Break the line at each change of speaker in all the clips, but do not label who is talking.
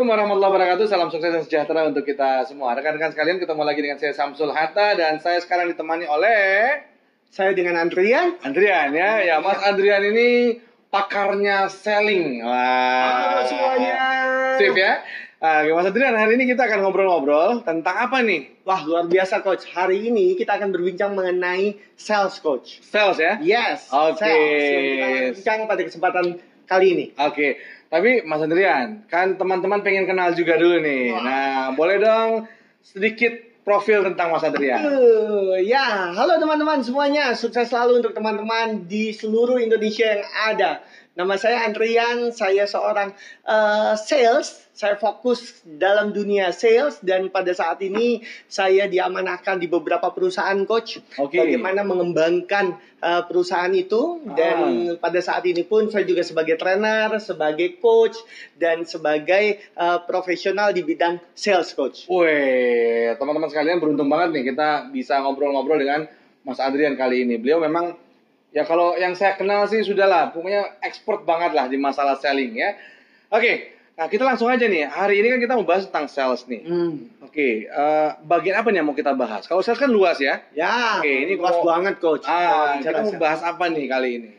Assalamualaikum warahmatullahi wabarakatuh. Salam sukses dan sejahtera untuk kita semua. Rekan-rekan sekalian, ketemu lagi dengan saya Samsul Hatta dan saya sekarang ditemani oleh
Saya dengan Andrian.
Andrian ya. Ya, Mas Andrian ini pakarnya selling. Wah.
Halo semuanya.
Sip ya. Ah, Oke, Mas Andrian, hari ini kita akan ngobrol-ngobrol tentang apa nih?
Wah luar biasa coach. Hari ini kita akan berbincang mengenai sales coach.
Sales ya.
Yes.
Oke.
Sales yang kita akan bincang pada kesempatan kali ini.
Oke. Tapi Mas Andrian, kan teman-teman pengen kenal juga dulu nih. Nah, boleh dong sedikit profil tentang Mas Andrian.
Uh, ya, halo teman-teman semuanya. Sukses selalu untuk teman-teman di seluruh Indonesia yang ada. Nama saya Andrian, saya seorang uh, sales. Saya fokus dalam dunia sales dan pada saat ini saya diamanahkan di beberapa perusahaan coach.
Oke.
Bagaimana mengembangkan uh, perusahaan itu dan pada saat ini pun saya juga sebagai trainer, sebagai coach dan sebagai uh, profesional di bidang sales coach.
Weh, teman-teman sekalian beruntung banget nih kita bisa ngobrol-ngobrol dengan Mas Adrian kali ini. Beliau memang ya kalau yang saya kenal sih sudahlah, pokoknya expert banget lah di masalah selling ya. Oke, nah kita langsung aja nih. Hari ini kan kita mau bahas tentang sales nih.
Hmm.
Oke, eh, bagian apa nih yang mau kita bahas? Kalau sales kan luas ya.
Ya,
Oke, ini
luas
kalau-
banget coach.
Ah,
Kalau
kita mau
bicara kan sales.
bahas apa nih kali ini?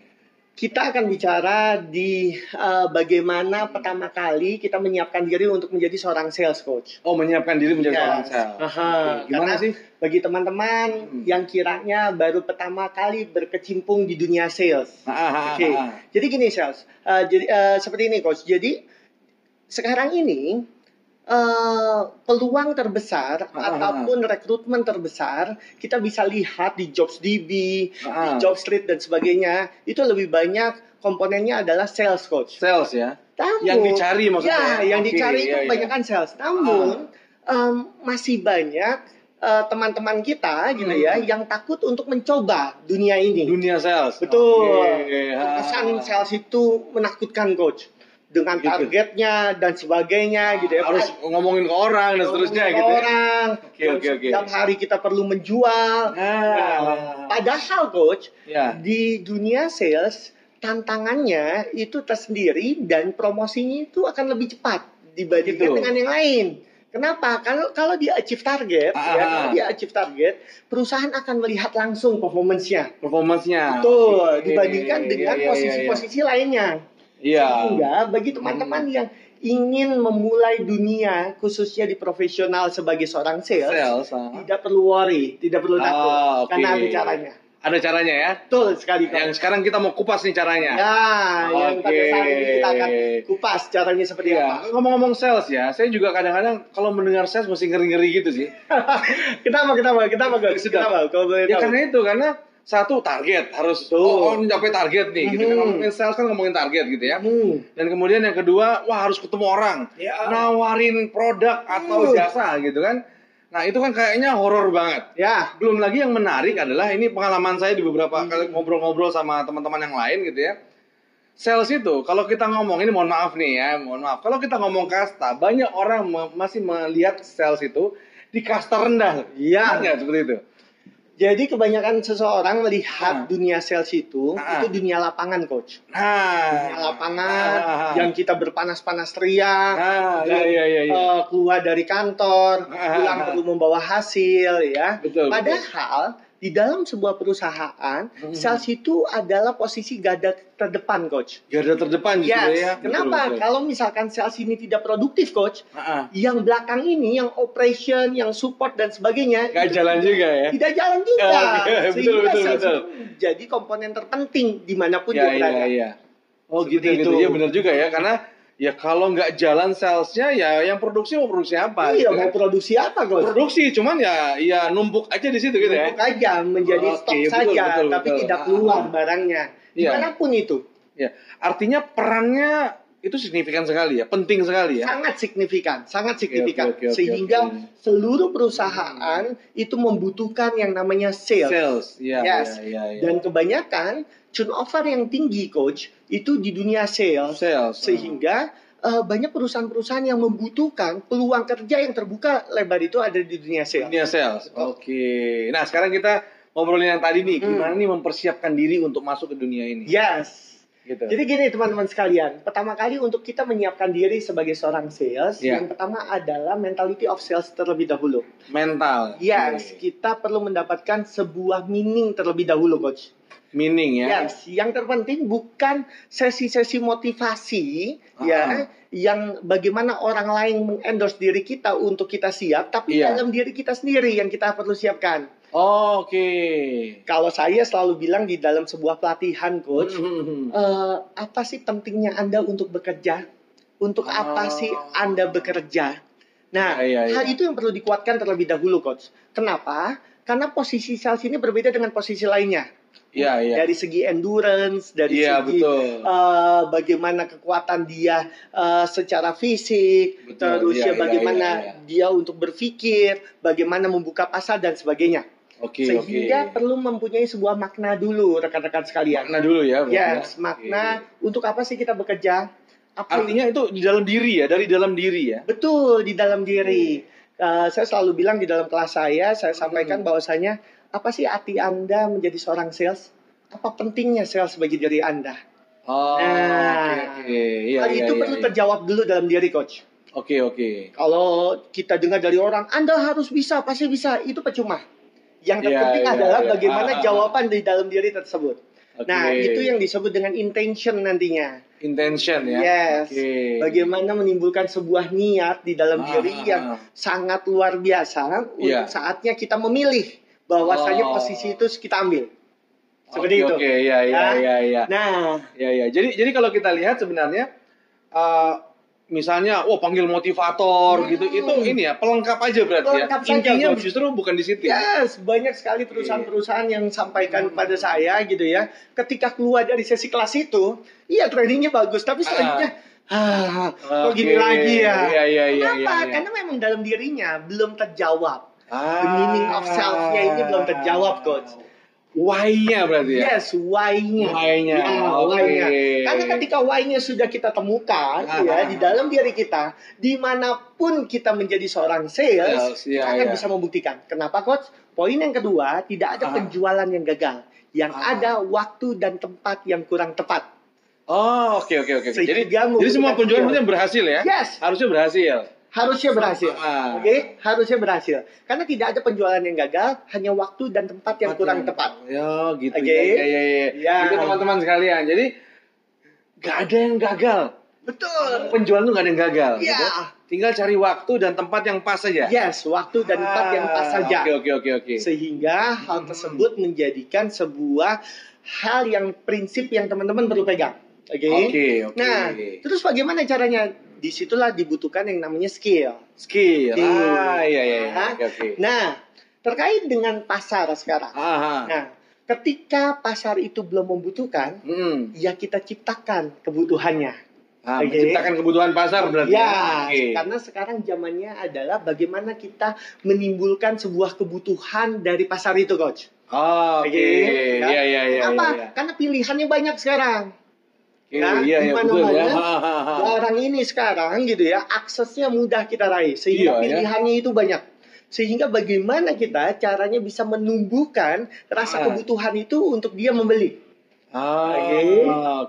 Kita akan bicara di eh, bagaimana pertama kali kita menyiapkan diri untuk menjadi seorang sales coach.
Oh, menyiapkan diri menjadi
Yes.
seorang sales.
Aha,
Oke, Gimana
karena
sih?
Bagi teman-teman
Hmm.
yang kiranya baru pertama kali berkecimpung di dunia sales.
Ah, ah, ah,
Oke.
ah.
Jadi gini sales, Eh, jadi eh, seperti ini coach. Jadi sekarang ini eh, peluang terbesar
Ah, ah, ah.
ataupun rekrutmen terbesar kita bisa lihat di JobsDB, di
Ah.
JobStreet dan sebagainya itu lebih banyak komponennya adalah sales coach.
Sales ya.
Namun,
Yang dicari maksudnya.
Ya, yang
Oke,
dicari itu
iya, Ah, iya.
kebanyakan sales. Namun em, masih banyak eh, teman-teman kita gitu ya
Hmm.
yang takut untuk mencoba dunia ini.
Dunia sales.
Betul.
Oke, ah.
Kesan sales itu menakutkan coach dengan
Gitu.
targetnya dan sebagainya gitu ya.
harus ngomongin ke orang dan seterusnya
Ngomongin
gitu ya.
Orang.
Oke, oke, oke.
Setiap hari kita perlu menjual. Nah,
Ah,
padahal coach
ya.
di dunia sales tantangannya itu tersendiri dan promosinya itu akan lebih cepat dibandingkan
Gitu.
dengan yang lain. Kenapa? Kalau kalau dia achieve target,
Ah.
ya, kalau dia achieve target, perusahaan akan melihat langsung performance-nya.
Performance-nya.
Betul,
Oke.
dibandingkan
Iya,
dengan
iya, iya,
posisi-posisi lainnya.
Iya. Hmm.
Sehingga bagi teman-teman yang ingin memulai dunia khususnya di profesional sebagai seorang sales,
Sales. ah.
tidak perlu worry, tidak perlu
Ah,
takut
oke.
karena ada caranya.
Ada caranya ya.
Betul sekali Kak.
Yang sekarang kita mau kupas nih caranya.
Ya, yang pada saat ini kita akan
Oke.
kupas caranya seperti
Iya.
apa.
Ngomong-ngomong sales ya, saya juga kadang-kadang kalau mendengar sales masih ngeri-ngeri gitu sih.
Kenapa, kenapa, kenapa, Gus?
Sudah.
Kenapa? Kalau boleh
Ya
tahu.
karena itu karena satu target harus
Tuh.
oh, oh mencapai target nih gitu kan
Mhm.
ngomongin sales kan ngomongin target gitu ya.
Hmm.
Dan kemudian yang kedua, wah harus ketemu orang,
Ya.
nawarin produk atau
Hmm.
jasa gitu kan. Nah itu kan kayaknya horor banget.
Ya,
Belum lagi yang menarik adalah ini pengalaman saya di
Hmm.
beberapa kali ngobrol-ngobrol sama teman-teman yang lain gitu ya. Sales itu kalau kita ngomong ini mohon maaf nih ya, mohon maaf. Kalau kita ngomong kasta, banyak orang me- masih melihat sales itu di kasta rendah. Ya, Nggak
Iya.
seperti itu.
jadi kebanyakan
Ah.
seseorang melihat dunia sales itu,
Ah.
itu dunia lapangan, Coach. Dunia
Nah,
lapangan
Ah.
yang kita berpanas-panas teriak,
Nah,
dan,
iya iya iya. iya.
eh, keluar dari kantor,
Ah.
pulang perlu membawa hasil, ya.
Betul, betul.
Padahal di dalam sebuah perusahaan,
Mhm.
sales itu adalah posisi gada terdepan, coach.
Garda terdepan gitu
Yes.
ya.
Kenapa?
Betul, betul.
Kalau misalkan sales ini tidak produktif, coach,
Ah, ah.
yang belakang ini, yang operation, yang support dan sebagainya,
Gak jalan juga ya.
tidak jalan juga.
Oke, betul,
Sehingga
betul,
sales
betul.
itu jadi komponen terpenting dimanapun
Iya
dia
iya
berada.
iya. Oh gitu
Seperti
gitu.
itu.
Iya benar juga ya karena ya kalau nggak jalan salesnya ya yang produksi mau produksi apa? gitu
Iya,
kan.
mau produksi apa, coach?
Produksi cuman ya ya numpuk aja di situ gitu ya. Oh,
Numpuk aja menjadi
Oke,
stok
betul,
saja
betul,
tapi
betul.
tidak
Ah,
keluar
ah.
barangnya
Iya.
dimanapun itu
Ya. Artinya perannya itu signifikan sekali ya, penting sekali ya.
sangat signifikan sangat signifikan
Iya, oke, oke,
sehingga
oke.
seluruh perusahaan itu membutuhkan yang namanya sales
Sales. Iya iya
Yes.
iya. iya.
dan kebanyakan turnover yang tinggi coach itu di dunia sales
sales. ah.
sehingga eh, banyak perusahaan-perusahaan yang membutuhkan peluang kerja yang terbuka lebar itu ada di dunia sales
dunia Iya, sales.
Betul.
Oke. Nah, sekarang kita ngobrolin yang tadi nih,
Hmm.
gimana nih mempersiapkan diri untuk masuk ke dunia ini?
yes
gitu.
Jadi gini teman-teman sekalian, pertama kali untuk kita menyiapkan diri sebagai seorang sales,
Iya.
yang pertama adalah mentality of sales terlebih dahulu.
mental.
Yes,
Oke.
kita perlu mendapatkan sebuah meaning terlebih dahulu, coach.
Meaning ya.
Yes, yang terpenting bukan sesi-sesi motivasi,
Ah.
ya, yang bagaimana orang lain mengendorse diri kita untuk kita siap, tapi
Iya.
dalam diri kita sendiri yang kita perlu siapkan.
Oh, Oke.
Kalau saya selalu bilang di dalam sebuah pelatihan,
Mm-hmm.
coach,
Hmm,
Eh, apa sih pentingnya Anda untuk bekerja? Untuk
Oh.
apa sih Anda bekerja? Nah,
Iya, iya,
hal
iya.
itu yang perlu dikuatkan terlebih dahulu, coach. Kenapa? Karena posisi sales ini berbeda dengan posisi lainnya.
Iya, iya.
Dari segi endurance, dari
Iya,
segi
betul.
eh, bagaimana kekuatan dia eh, secara fisik,
Betul,
terus
iya,
ya
iya,
bagaimana
iya,
dia untuk berpikir, bagaimana membuka pasar dan sebagainya.
Oke, oke.
Sehingga perlu mempunyai sebuah makna dulu, rekan-rekan sekalian.
makna dulu ya. berarti ya.
Yes, Iya, makna untuk apa sih kita bekerja?
Oke.
Apa
Artinya itu di dalam diri ya, dari dalam diri ya.
betul di dalam diri. Eh, saya selalu bilang di dalam kelas saya, saya
Hmm.
sampaikan bahwasanya apa sih arti Anda menjadi seorang sales? Apa pentingnya sales bagi diri Anda?
Oh, oke,
Nah.
oke. Iya,
Hal
iya,
itu
iya,
perlu
iya.
terjawab dulu dalam diri coach.
Oke, oke.
Kalau kita dengar dari orang, Anda harus bisa, pasti bisa, itu percuma. Yang
Iya,
terpenting
iya,
adalah
iya.
bagaimana
Ah, ah, ah.
jawaban di dalam diri tersebut.
Oke.
Nah, itu yang disebut dengan intention nantinya.
intention ya.
Yes.
Oke.
Bagaimana menimbulkan sebuah niat di dalam
Ah,
diri
ah,
yang
ah.
sangat luar biasa kan,
Iya.
untuk saatnya kita memilih bahwasanya
Oh.
posisi itu kita ambil.
Oke,
Seperti itu.
Oke, iya, iya,
Ya.
iya, iya.
Nah,
Ya ya. Jadi jadi kalau kita lihat sebenarnya eh, misalnya wah panggil motivator
Hmm.
gitu itu ini ya pelengkap aja berarti
Pelengkap
ya.
saja,
Intinya
Coach.
justru bukan di situ. ya?
yes, banyak sekali perusahaan-perusahaan yang sampaikan
Hmm.
kepada saya gitu ya, ketika keluar dari sesi kelas itu, iya trainingnya bagus, tapi selanjutnya, ah, kok gini
Oke.
lagi ya?
Iya iya iya.
Kenapa?
iya, iya.
Karena memang dalam dirinya belum terjawab.
Ah.
The meaning of self-nya ini belum terjawab, Coach. Iya.
Why-nya berarti ya.
Yes, why-nya.
Why-nya,
Ya,
oke.
why-nya. Karena ketika why-nya sudah kita
Ah,
temukan
ah,
ya di
ah.
dalam diri kita, dimanapun kita menjadi seorang sales,
Sales,
iya,
ya,
kita akan
ya.
bisa membuktikan. Kenapa, coach? Poin yang kedua, tidak
Ah.
ada penjualan yang gagal. Yang
Ah.
ada waktu dan tempat yang kurang tepat.
Oh, oke oke oke.
Sehingga
Jadi jadi
membutuhkan
semua penjualan
skill.
kemudian berhasil ya.
Yes,
Harusnya berhasil.
harusnya berhasil.
Ah.
Oke, harusnya berhasil. Karena tidak ada penjualan yang gagal, hanya waktu dan tempat yang kurang tepat.
Ya gitu
Oke.
ya. Ya ya ya.
Ya.
Gitu teman-teman sekalian. Jadi gak ada yang gagal.
Betul.
Penjualan tuh gak ada yang gagal.
Ya.
gitu. Tinggal cari waktu dan tempat yang pas saja.
Yes, waktu Iya, dan tempat yang pas
Ah,
saja.
Oke oke oke oke.
sehingga
Hmm.
hal tersebut menjadikan sebuah hal yang prinsip yang teman-teman perlu pegang. Oke.
Oke oke.
Nah, terus bagaimana caranya? Disitulah dibutuhkan yang namanya skill.
skill.
Di-
Ah iya iya. iya. Oke oke.
Nah, terkait dengan pasar sekarang.
Aha.
Nah, ketika pasar itu belum membutuhkan,
Hmm.
ya kita ciptakan kebutuhannya.
Ah,
Oke.
menciptakan kebutuhan pasar berarti.
ya,
Oke.
karena sekarang zamannya adalah bagaimana kita menimbulkan sebuah kebutuhan dari pasar itu, coach.
Oh, Oke.
Oke, ya.
Iya iya iya.
Apa?
iya,
Karena pilihannya banyak sekarang.
Iya
Nah,
Oke, iya iya, betul ya.
dimana-mana,
Ah, ah, ah.
Orang ini sekarang gitu ya, aksesnya mudah kita raih
Iya,
sehingga
ya.
pilihannya itu banyak. Sehingga bagaimana kita caranya bisa menumbuhkan rasa
Ah.
kebutuhan itu untuk dia membeli.
Ah,
Oke.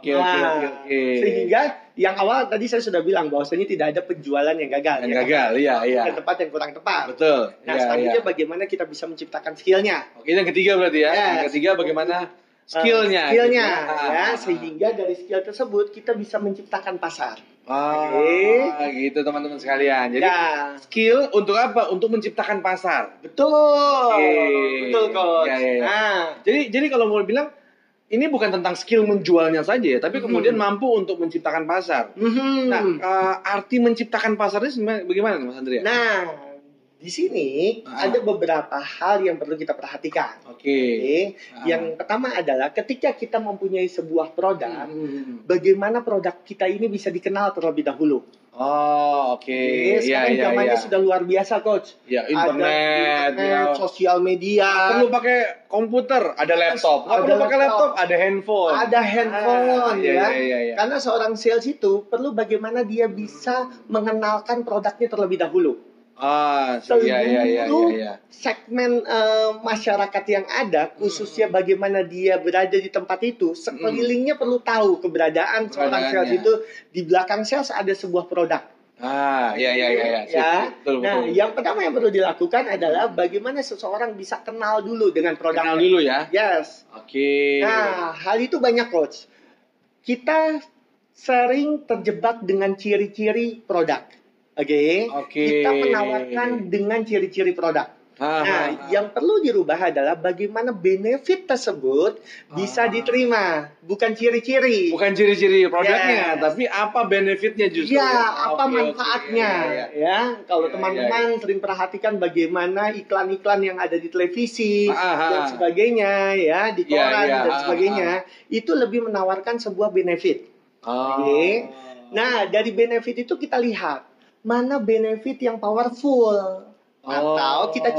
Oke oke
Nah,
oke oke.
Sehingga yang awal tadi saya sudah bilang bahwasanya tidak ada penjualan yang gagal.
Yang
ya kan?
gagal, iya iya.
Bukan tempat yang kurang tepat.
Betul. iya,
Nah,
iya.
selanjutnya bagaimana kita bisa menciptakan skillnya.
Oke, yang ketiga berarti ya.
Ya,
Yang ketiga bagaimana skillnya.
Eh, skillnya,
gitu ya.
ya.
Ah, ah,
Sehingga dari skill tersebut kita bisa menciptakan pasar.
Ah,
Oke.
gitu teman-teman sekalian. Jadi
Ya.
skill untuk apa? Untuk menciptakan pasar.
Betul.
Oke.
Betul, coach.
Ya, ya, ya.
Nah,
Jadi jadi kalau mau bilang ini bukan tentang skill menjualnya saja ya, tapi
Mhm.
kemudian mampu untuk menciptakan pasar.
mhm.
Nah,
nah,
eh, arti menciptakan pasar itu sebenarnya bagaimana Mas Andrea?
nah, di sini
Iya. Ah.
ada beberapa hal yang perlu kita perhatikan.
Oke.
Oke.
Ah.
Yang pertama adalah ketika kita mempunyai sebuah produk,
Mhm.
bagaimana produk kita ini bisa dikenal terlebih dahulu.
Oh, oke. Iya,
Oke, sekarang
iya,
zamannya
iya.
sudah luar biasa, coach.
Ya,
Ada
internet,
internet,
ya.
sosial media,
Nggak perlu pakai komputer, ada laptop. Nggak
Ada
perlu pakai
laptop.
laptop, ada handphone.
ada
Ah,
handphone, ya.
iya, iya, iya.
Karena
Hmm.
seorang sales itu perlu bagaimana dia bisa mengenalkan produknya terlebih dahulu.
Ah,
Telur
iya iya iya
itu
iya. iya. Hmm.
segmen eh, masyarakat yang ada khususnya bagaimana dia berada di tempat itu sekelilingnya perlu tahu keberadaan seorang sales
Hmm. Keberadaannya.
itu di belakang sales ada sebuah produk
Ah, iya iya iya iya. Sip,
Ya.
Betul betul.
nah yang pertama yang perlu dilakukan adalah bagaimana seseorang bisa kenal dulu dengan
Kenal
produknya
dulu Iya, ya.
yes
Oke.
nah hal itu banyak coach kita sering terjebak dengan ciri-ciri produk oke
Oke.
kita menawarkan dengan ciri-ciri produk
Ah, ah, ah.
Nah, yang perlu dirubah adalah bagaimana benefit tersebut bisa
Ah.
diterima, bukan ciri-ciri.
bukan ciri-ciri produknya,
Yes.
tapi apa benefitnya justru?
Iya,
Ah, oke,
apa
oke.
manfaatnya?
Iya, iya.
Ya, kalau
Iya,
teman-teman sering perhatikan bagaimana iklan-iklan yang ada di televisi
Ah, ah,
dan
ah.
sebagainya, ya, di
Iya,
koran
iya,
dan
ah,
sebagainya, itu lebih menawarkan sebuah benefit.
Ah.
Oke. Nah, dari benefit itu kita lihat mana benefit yang powerful
Oh,
atau kita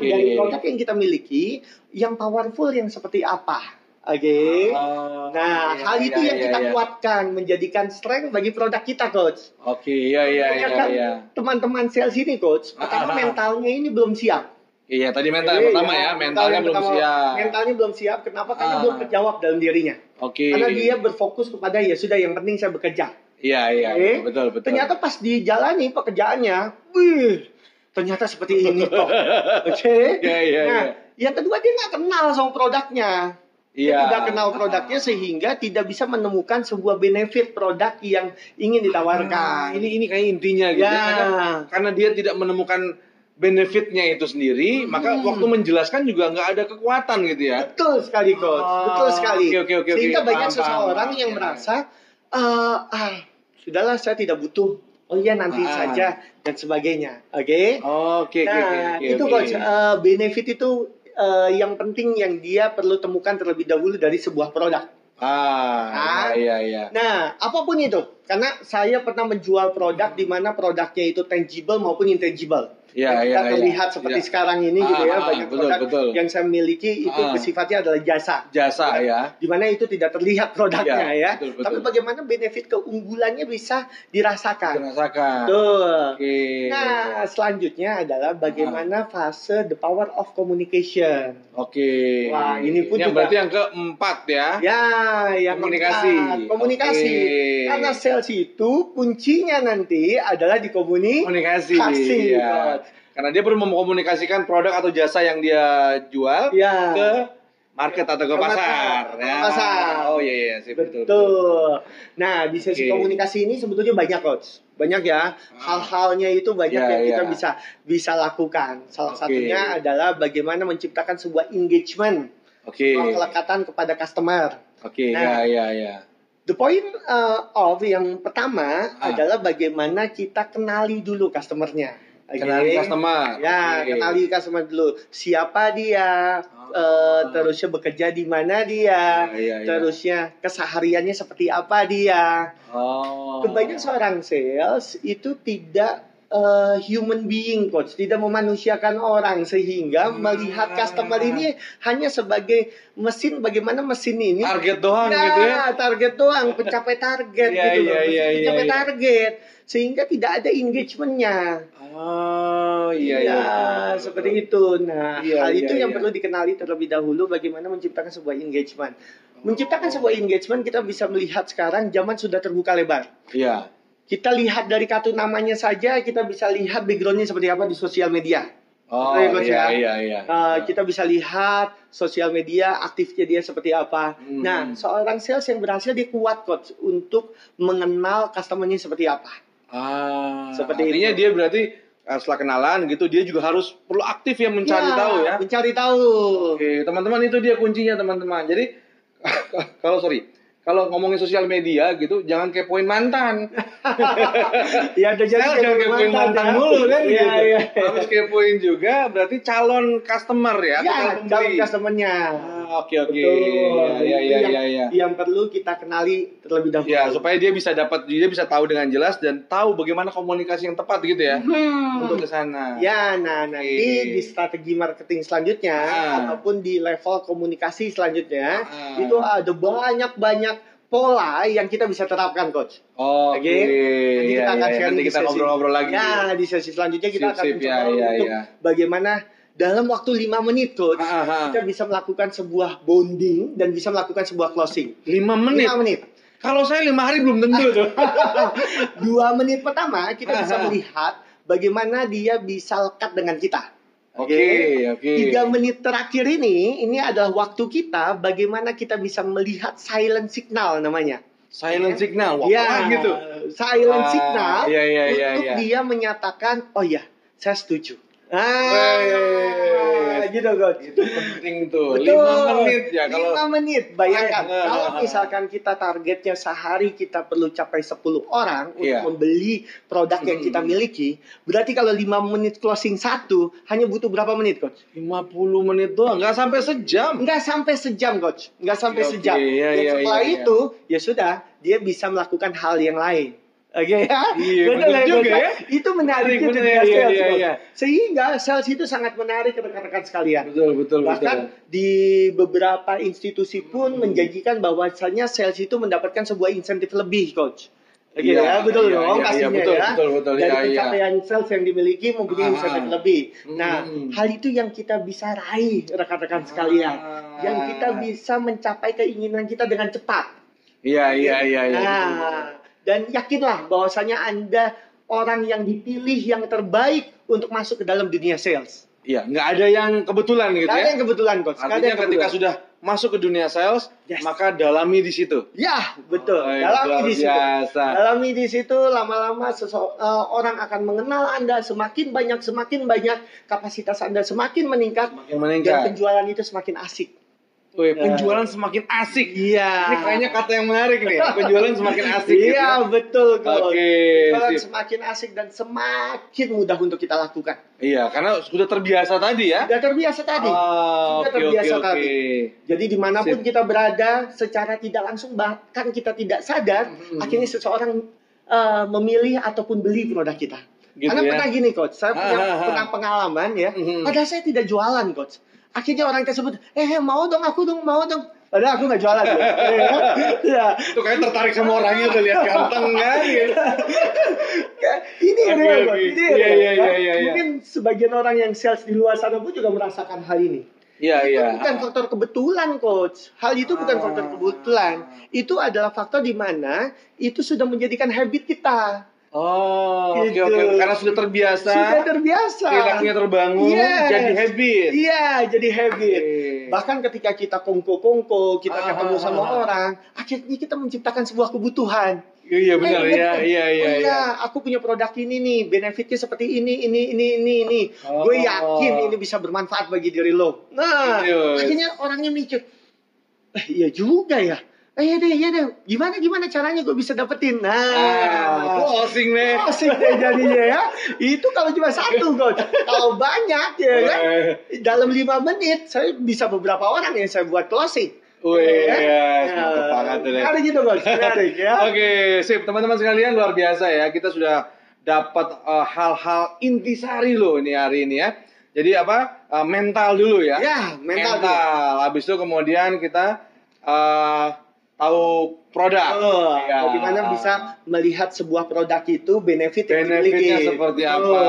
oke, oke.
dari produk yang kita miliki yang powerful yang seperti apa. Oke.
Ah,
Nah,
iya,
hal
iya,
itu yang
iya,
kita
iya.
kuatkan menjadikan strength bagi produk kita, coach.
Oke, iya iya iya
Kebanyakan
iya.
Teman-teman sales ini, coach,
Ah, ah,
pertama
ah.
mentalnya ini belum siap.
Iya, tadi mental yang
Jadi,
pertama ya,
mental
mentalnya
yang
belum
pertama.
siap.
Mentalnya belum siap. Kenapa? Karena
Ah. Iya,
belum terjawab dalam dirinya.
Oke.
Karena dia berfokus kepada ya sudah yang penting saya bekerja.
Iya iya,
Oke.
betul betul.
Ternyata pas dijalani pekerjaannya, wih, ternyata seperti ini toh. Oke.
Iya iya
Nah,
iya.
yang kedua dia nggak kenal sama produknya. Dia
Iya.
tidak kenal produknya sehingga tidak bisa menemukan sebuah benefit produk yang ingin
Nah,
ditawarkan.
ini ini kayak intinya gitu.
Hmm. ya.
ya. Kadang- karena dia tidak menemukan benefitnya itu sendiri, maka
Hmm.
waktu menjelaskan juga nggak ada kekuatan gitu ya.
Betul sekali, coach.
Ah,
Betul sekali.
oke, oke, oke,
Sehingga
oke.
banyak
Paham,
seseorang
paham.
yang
Iya.
merasa "Eh, ah, sudahlah saya tidak butuh. Oh iya nanti
Ah.
saja dan sebagainya. Oke.
Oke, oke, oke,
Nah,
oke,
itu
oke.
coach eh, benefit itu eh, yang penting yang dia perlu temukan terlebih dahulu dari sebuah produk.
Ah,
Ah.
iya, iya.
Nah, apapun itu, karena saya pernah menjual produk di mana produknya itu tangible maupun intangible.
Iya, iya,
Yang kita
iya.
terlihat seperti
Iya.
sekarang ini gitu
Ah,
ya,
ah,
banyak
betul,
produk
betul.
yang saya miliki itu
Ah.
bersifatnya adalah jasa.
jasa ya.
Di mana itu tidak terlihat
Iya,
produknya ya.
betul, betul.
Tapi bagaimana benefit keunggulannya bisa dirasakan.
Dirasakan.
Betul.
Oke. Ah.
Nah, selanjutnya adalah bagaimana fase the power of communication.
Oke.
Wah, ini pun
yang
juga-
berarti yang keempat ya.
Ya, ya
Komunikasi.
keempat, komunikasi.
Oke.
Karena sales itu kuncinya nanti adalah di komunikasi.
Komunikasi. Iya. Karena dia perlu mengkomunikasikan produk atau jasa yang dia jual
Ya.
ke market atau ke
Ke market,
pasar.
ke
Ya.
pasar.
Oh iya iya sih betul.
Betul. Nah, di sesi
Oke.
komunikasi ini sebetulnya banyak coach. Banyak ya.
Ah,
Hal-halnya itu banyak
Ya,
yang kita
ya.
bisa bisa lakukan. Salah
Oke.
satunya adalah bagaimana menciptakan sebuah engagement,
Oke.
kelekatan kepada customer.
Oke, iya
Nah.
iya iya.
The point uh, of yang pertama
Ah.
adalah bagaimana kita kenali dulu customernya. Oke?
Kenali customer.
Ya,
Oke.
kenali customer dulu. Siapa dia?
Ah.
eh, ya, terusnya bekerja di mana dia?
Iya, iya, iya.
Terusnya kesehariannya seperti apa dia?
Oh.
Kebanyakan seorang sales itu tidak eh, human being coach, tidak memanusiakan orang sehingga
Hmm.
melihat customer ini hanya sebagai mesin bagaimana mesin ini
target doang gitu ya.
Nah, target doang, pencapai target
Iya,
gitu loh.
iya, iya,
pencapai
iya.
target. Sehingga tidak ada engagementnya.
Oh iya iya.
Ya, seperti itu. Nah,
Iya,
hal
iya,
itu
iya.
yang perlu dikenali terlebih dahulu bagaimana menciptakan sebuah engagement. Menciptakan
Oh.
sebuah engagement kita bisa melihat sekarang zaman sudah terbuka lebar.
Iya.
Kita lihat dari kartu namanya saja, kita bisa lihat backgroundnya seperti apa di sosial media.
Oh
Betul ya, Coach,
iya
ya?
iya iya.
Uh, kita bisa lihat sosial media aktifnya dia seperti apa.
Hmm.
Nah, seorang sales yang berhasil dia kuat coach untuk mengenal customernya seperti apa.
Ah,
Seperti
artinya
itu.
dia berarti eh, setelah kenalan gitu dia juga harus perlu aktif ya mencari tahu ya.
Iya, Mencari tahu.
Oke, teman-teman itu dia kuncinya teman-teman. Jadi kalau sorry, kalau ngomongin sosial media gitu jangan kepoin mantan.
Ya udah jadi
Jangan jangan kepoin mantan
ya.
mulu kan
Iya,
gitu.
iya.
Harus kepoin juga berarti calon customer ya,
Ya,
calon
calon
pembeli.
customernya.
Ah, Oke oke.
Betul.
Iya iya
Itu
iya
yang-
iya.
Yang perlu kita kenali terlebih dahulu.
Ya, supaya dia bisa dapat dia bisa tahu dengan jelas dan tahu bagaimana komunikasi yang tepat gitu ya
Hmm.
untuk ke sana.
Ya, nah nanti
Oke.
di strategi marketing selanjutnya
Iya. Ah.
ataupun di level komunikasi selanjutnya
Ah.
itu ada banyak-banyak pola yang kita bisa terapkan coach.
Oke.
Oke. Nanti
iya,
kita akan
iya,
sharing
Nanti
di
kita
sesi-
ngobrol-ngobrol lagi.
Ya, di sesi selanjutnya kita
Sip,
akan
sip,
mencoba
ya, ya,
untuk
ya.
bagaimana dalam waktu 5 menit coach
Ah, ah, ah.
kita bisa melakukan sebuah bonding dan bisa melakukan sebuah closing.
Lima menit.
5 menit.
Kalau saya lima hari belum tentu tuh.
Dua menit pertama kita bisa
Aha.
melihat bagaimana dia bisa lekat dengan kita.
Oke, oke.
Tiga menit terakhir ini, ini adalah waktu kita bagaimana kita bisa melihat silent signal namanya.
Silent signal. Wah,
Ya,
wah, gitu.
Silent
Ah,
signal
iya, iya, iya,
untuk
iya.
dia menyatakan, oh ya, saya setuju. Ah,
Wes.
gitu coach.
Itu penting tuh.
Betul.
Lima menit ya kalau.
Lima menit, bayangkan.
Eh, eh,
kalau
eh, eh.
misalkan kita targetnya sehari kita perlu capai 10 orang
Iya. Mm-hmm.
untuk membeli produk yang kita miliki, berarti kalau lima menit closing satu hanya butuh berapa menit, coach?
50 menit doang, nggak sampai sejam.
Nggak sampai sejam, coach. Nggak sampai
Oke,
sejam.
iya,
Dan
iya,
setelah
iya, iya.
itu, ya sudah, dia bisa melakukan hal yang lain. Oke ya?
Iya,
Betul
bener
ya,
juga
coach?
ya.
Itu menarik
Menarik,
dunia
bener, iya,
sales,
iya,
coach.
iya.
Sehingga sales itu sangat menarik ke rekan-rekan sekalian.
Betul, betul,
Bahkan di beberapa institusi pun menjanjikan bahwasannya sales itu mendapatkan sebuah insentif lebih, coach. Oke
Iya,
ya, betul
iya,
dong
iya, iya,
pastinya
betul,
ya.
betul, betul,
Dari
iya, iya.
pencapaian sales yang dimiliki mempunyai
Ah.
insentif lebih. Nah,
Hmm.
hal itu yang kita bisa raih rekan-rekan sekalian,
Ah.
yang kita bisa mencapai keinginan kita dengan cepat.
Iya, iya, iya, iya.
Nah, dan yakinlah bahwasanya Anda orang yang dipilih yang terbaik untuk masuk ke dalam dunia sales.
Iya, nggak ada yang kebetulan gitu
Karena
ya.
yang kebetulan, coach. Nggak ada
Artinya
yang
ketika
kebetulan.
sudah masuk ke dunia sales,
Yes.
maka dalami di situ.
Ya, betul.
Oh, iya,
Dalam
luar
di situ.
biasa.
Dalam di situ lama-lama sese- eh, orang akan mengenal Anda semakin banyak semakin banyak kapasitas Anda semakin meningkat
Semakin
dan
meningkat.
penjualan itu semakin asik.
Wih, penjualan semakin asik.
Iya.
Ini kayaknya kata yang menarik nih. Penjualan semakin asik. gitu
Iya,
ya.
betul Coach.
Oke,
Penjualan
sip.
semakin asik dan semakin mudah untuk kita lakukan.
Iya, karena sudah terbiasa tadi ya.
Sudah terbiasa tadi.
Ah,
Sudah
oke, oke,
terbiasa tadi.
oke.
Jadi dimanapun
Sip.
kita berada secara tidak langsung bahkan kita tidak sadar
Hmm.
akhirnya seseorang eh, memilih ataupun beli produk kita.
Gitu
Karena
ya.
pernah gini coach, saya punya
Ah, ah, ah.
pernah pengalaman ya.
Mhm.
Padahal saya tidak jualan coach. Akhirnya orang tersebut, eh mau dong aku dong mau dong. Padahal aku nggak jualan. ya. ya.
Itu kayaknya tertarik sama orangnya tuh lihat ganteng kan.
Iya.
gitu.
Ini
Oke,
real
oke.
coach. Ini
Iya,
real,
iya,
ya.
iya, iya, iya.
Mungkin sebagian orang yang sales di luar sana pun juga merasakan hal ini.
Iya, iya.
Itu bukan faktor kebetulan, coach. Hal itu bukan
Ah.
faktor kebetulan. Itu adalah faktor di mana itu sudah menjadikan habit kita.
Oh, oke
Gitu.
oke. Karena sudah terbiasa,
Sudah terbiasa.
perilakunya terbangun,
Yes.
jadi habit.
Iya, jadi habit.
Oke.
Bahkan ketika kita kongko-kongko, kita
Ah.
ketemu sama orang, akhirnya kita menciptakan sebuah kebutuhan.
Iya benar ya,
Eh, bener.
iya iya
Oh
iya.
aku punya produk ini nih, benefitnya seperti ini, ini, ini, ini, ini.
Oh.
Gue yakin ini bisa bermanfaat bagi diri lo. Nah,
Serius.
akhirnya orangnya mikir, eh iya juga ya. Eh iya deh, iya deh. Gimana, gimana caranya gue bisa dapetin?
Ah,
Nah,
closing nih.
asik deh jadinya ya. Itu kalau cuma satu, God. Kalau banyak ya kan.
Eh,
Dalam lima menit, saya bisa beberapa orang yang saya buat closing.
Wih,
Ya.
ya, mantap banget tuh deh.
Menarik gitu, God. Menarik ya.
Oke, sip teman-teman sekalian luar biasa ya. Kita sudah dapat eh, hal-hal intisari loh ini hari ini ya. Jadi apa? eh, mental dulu ya.
Ya, mental. dulu.
mental. Habis itu kemudian kita eh, tahu produk.
Oh,
Ya.
Bagaimana bisa melihat sebuah produk itu benefit yang
Benefitnya
dimiliki.
seperti apa,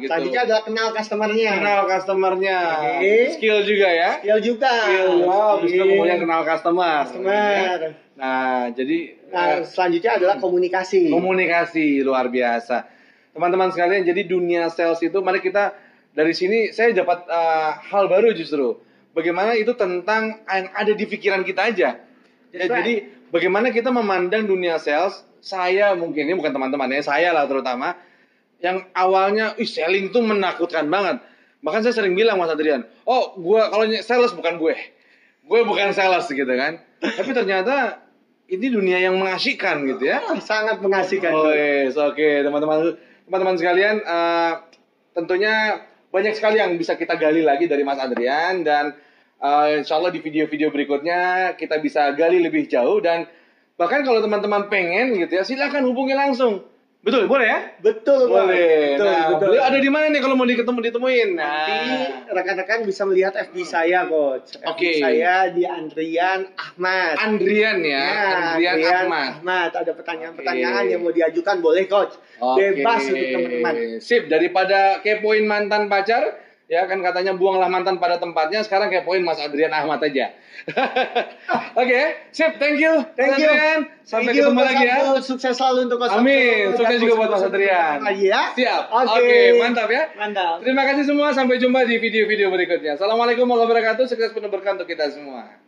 gitu.
Selanjutnya adalah kenal customernya.
kenal customernya,
Oke.
skill juga ya.
Skill juga.
Skill, ya. Habis itu
Skill.
kemudian kenal customer.
Customer.
Ya. Nah, jadi eh,
Nah, selanjutnya adalah komunikasi.
komunikasi luar biasa. Teman-teman sekalian, jadi dunia sales itu mari kita dari sini saya dapat eh, hal baru justru. Bagaimana itu tentang yang ada di pikiran kita aja. Ya,
That's right.
Jadi bagaimana kita memandang dunia sales, saya mungkin ini bukan teman-teman ya, saya lah terutama yang awalnya ih selling tuh menakutkan banget. Bahkan saya sering bilang Mas Adrian, "Oh, gua kalau ny- sales bukan gue. Gue bukan sales gitu kan." Tapi ternyata ini dunia yang mengasyikan gitu ya.
Ah, sangat mengasihkan.
Oh, yes. Oke, teman-teman teman-teman sekalian eh, tentunya banyak sekali yang bisa kita gali lagi dari Mas Adrian dan eh, insya Allah di video-video berikutnya kita bisa gali lebih jauh dan bahkan kalau teman-teman pengen gitu ya silakan hubungi langsung. Betul, boleh ya?
Betul, Bang.
Boleh.
Betul,
nah,
betul.
beliau ada di mana nih kalau mau diketemu ditemuin?
Nanti
Nah,
rekan-rekan bisa melihat FB saya, coach. FB
Oke.
saya di Andrian Ahmad. Nah,
Andrian ya, Andrian Ahmad.
Ada pertanyaan-pertanyaan
Oke.
yang mau diajukan boleh, coach.
Oke.
Bebas untuk teman-teman.
Sip, daripada kepoin mantan pacar, ya kan katanya buanglah mantan pada tempatnya, sekarang kepoin Mas Adrian Ahmad aja. Oke, sip, thank you. Mas
Thank you.
Adrian. Sampai
Thank you,
ketemu
Coach
lagi ya.
Abdul. Sukses selalu untuk Coach
Amin.
Abdul.
Sukses
Dan
juga buat Mas
sukses untuk
Adrian.
lagi ya.
Siap. Oke, mantap ya.
Mantap.
Terima kasih semua, sampai jumpa di video-video berikutnya. Assalamualaikum warahmatullahi wabarakatuh, sukses penuh berkah untuk kita semua.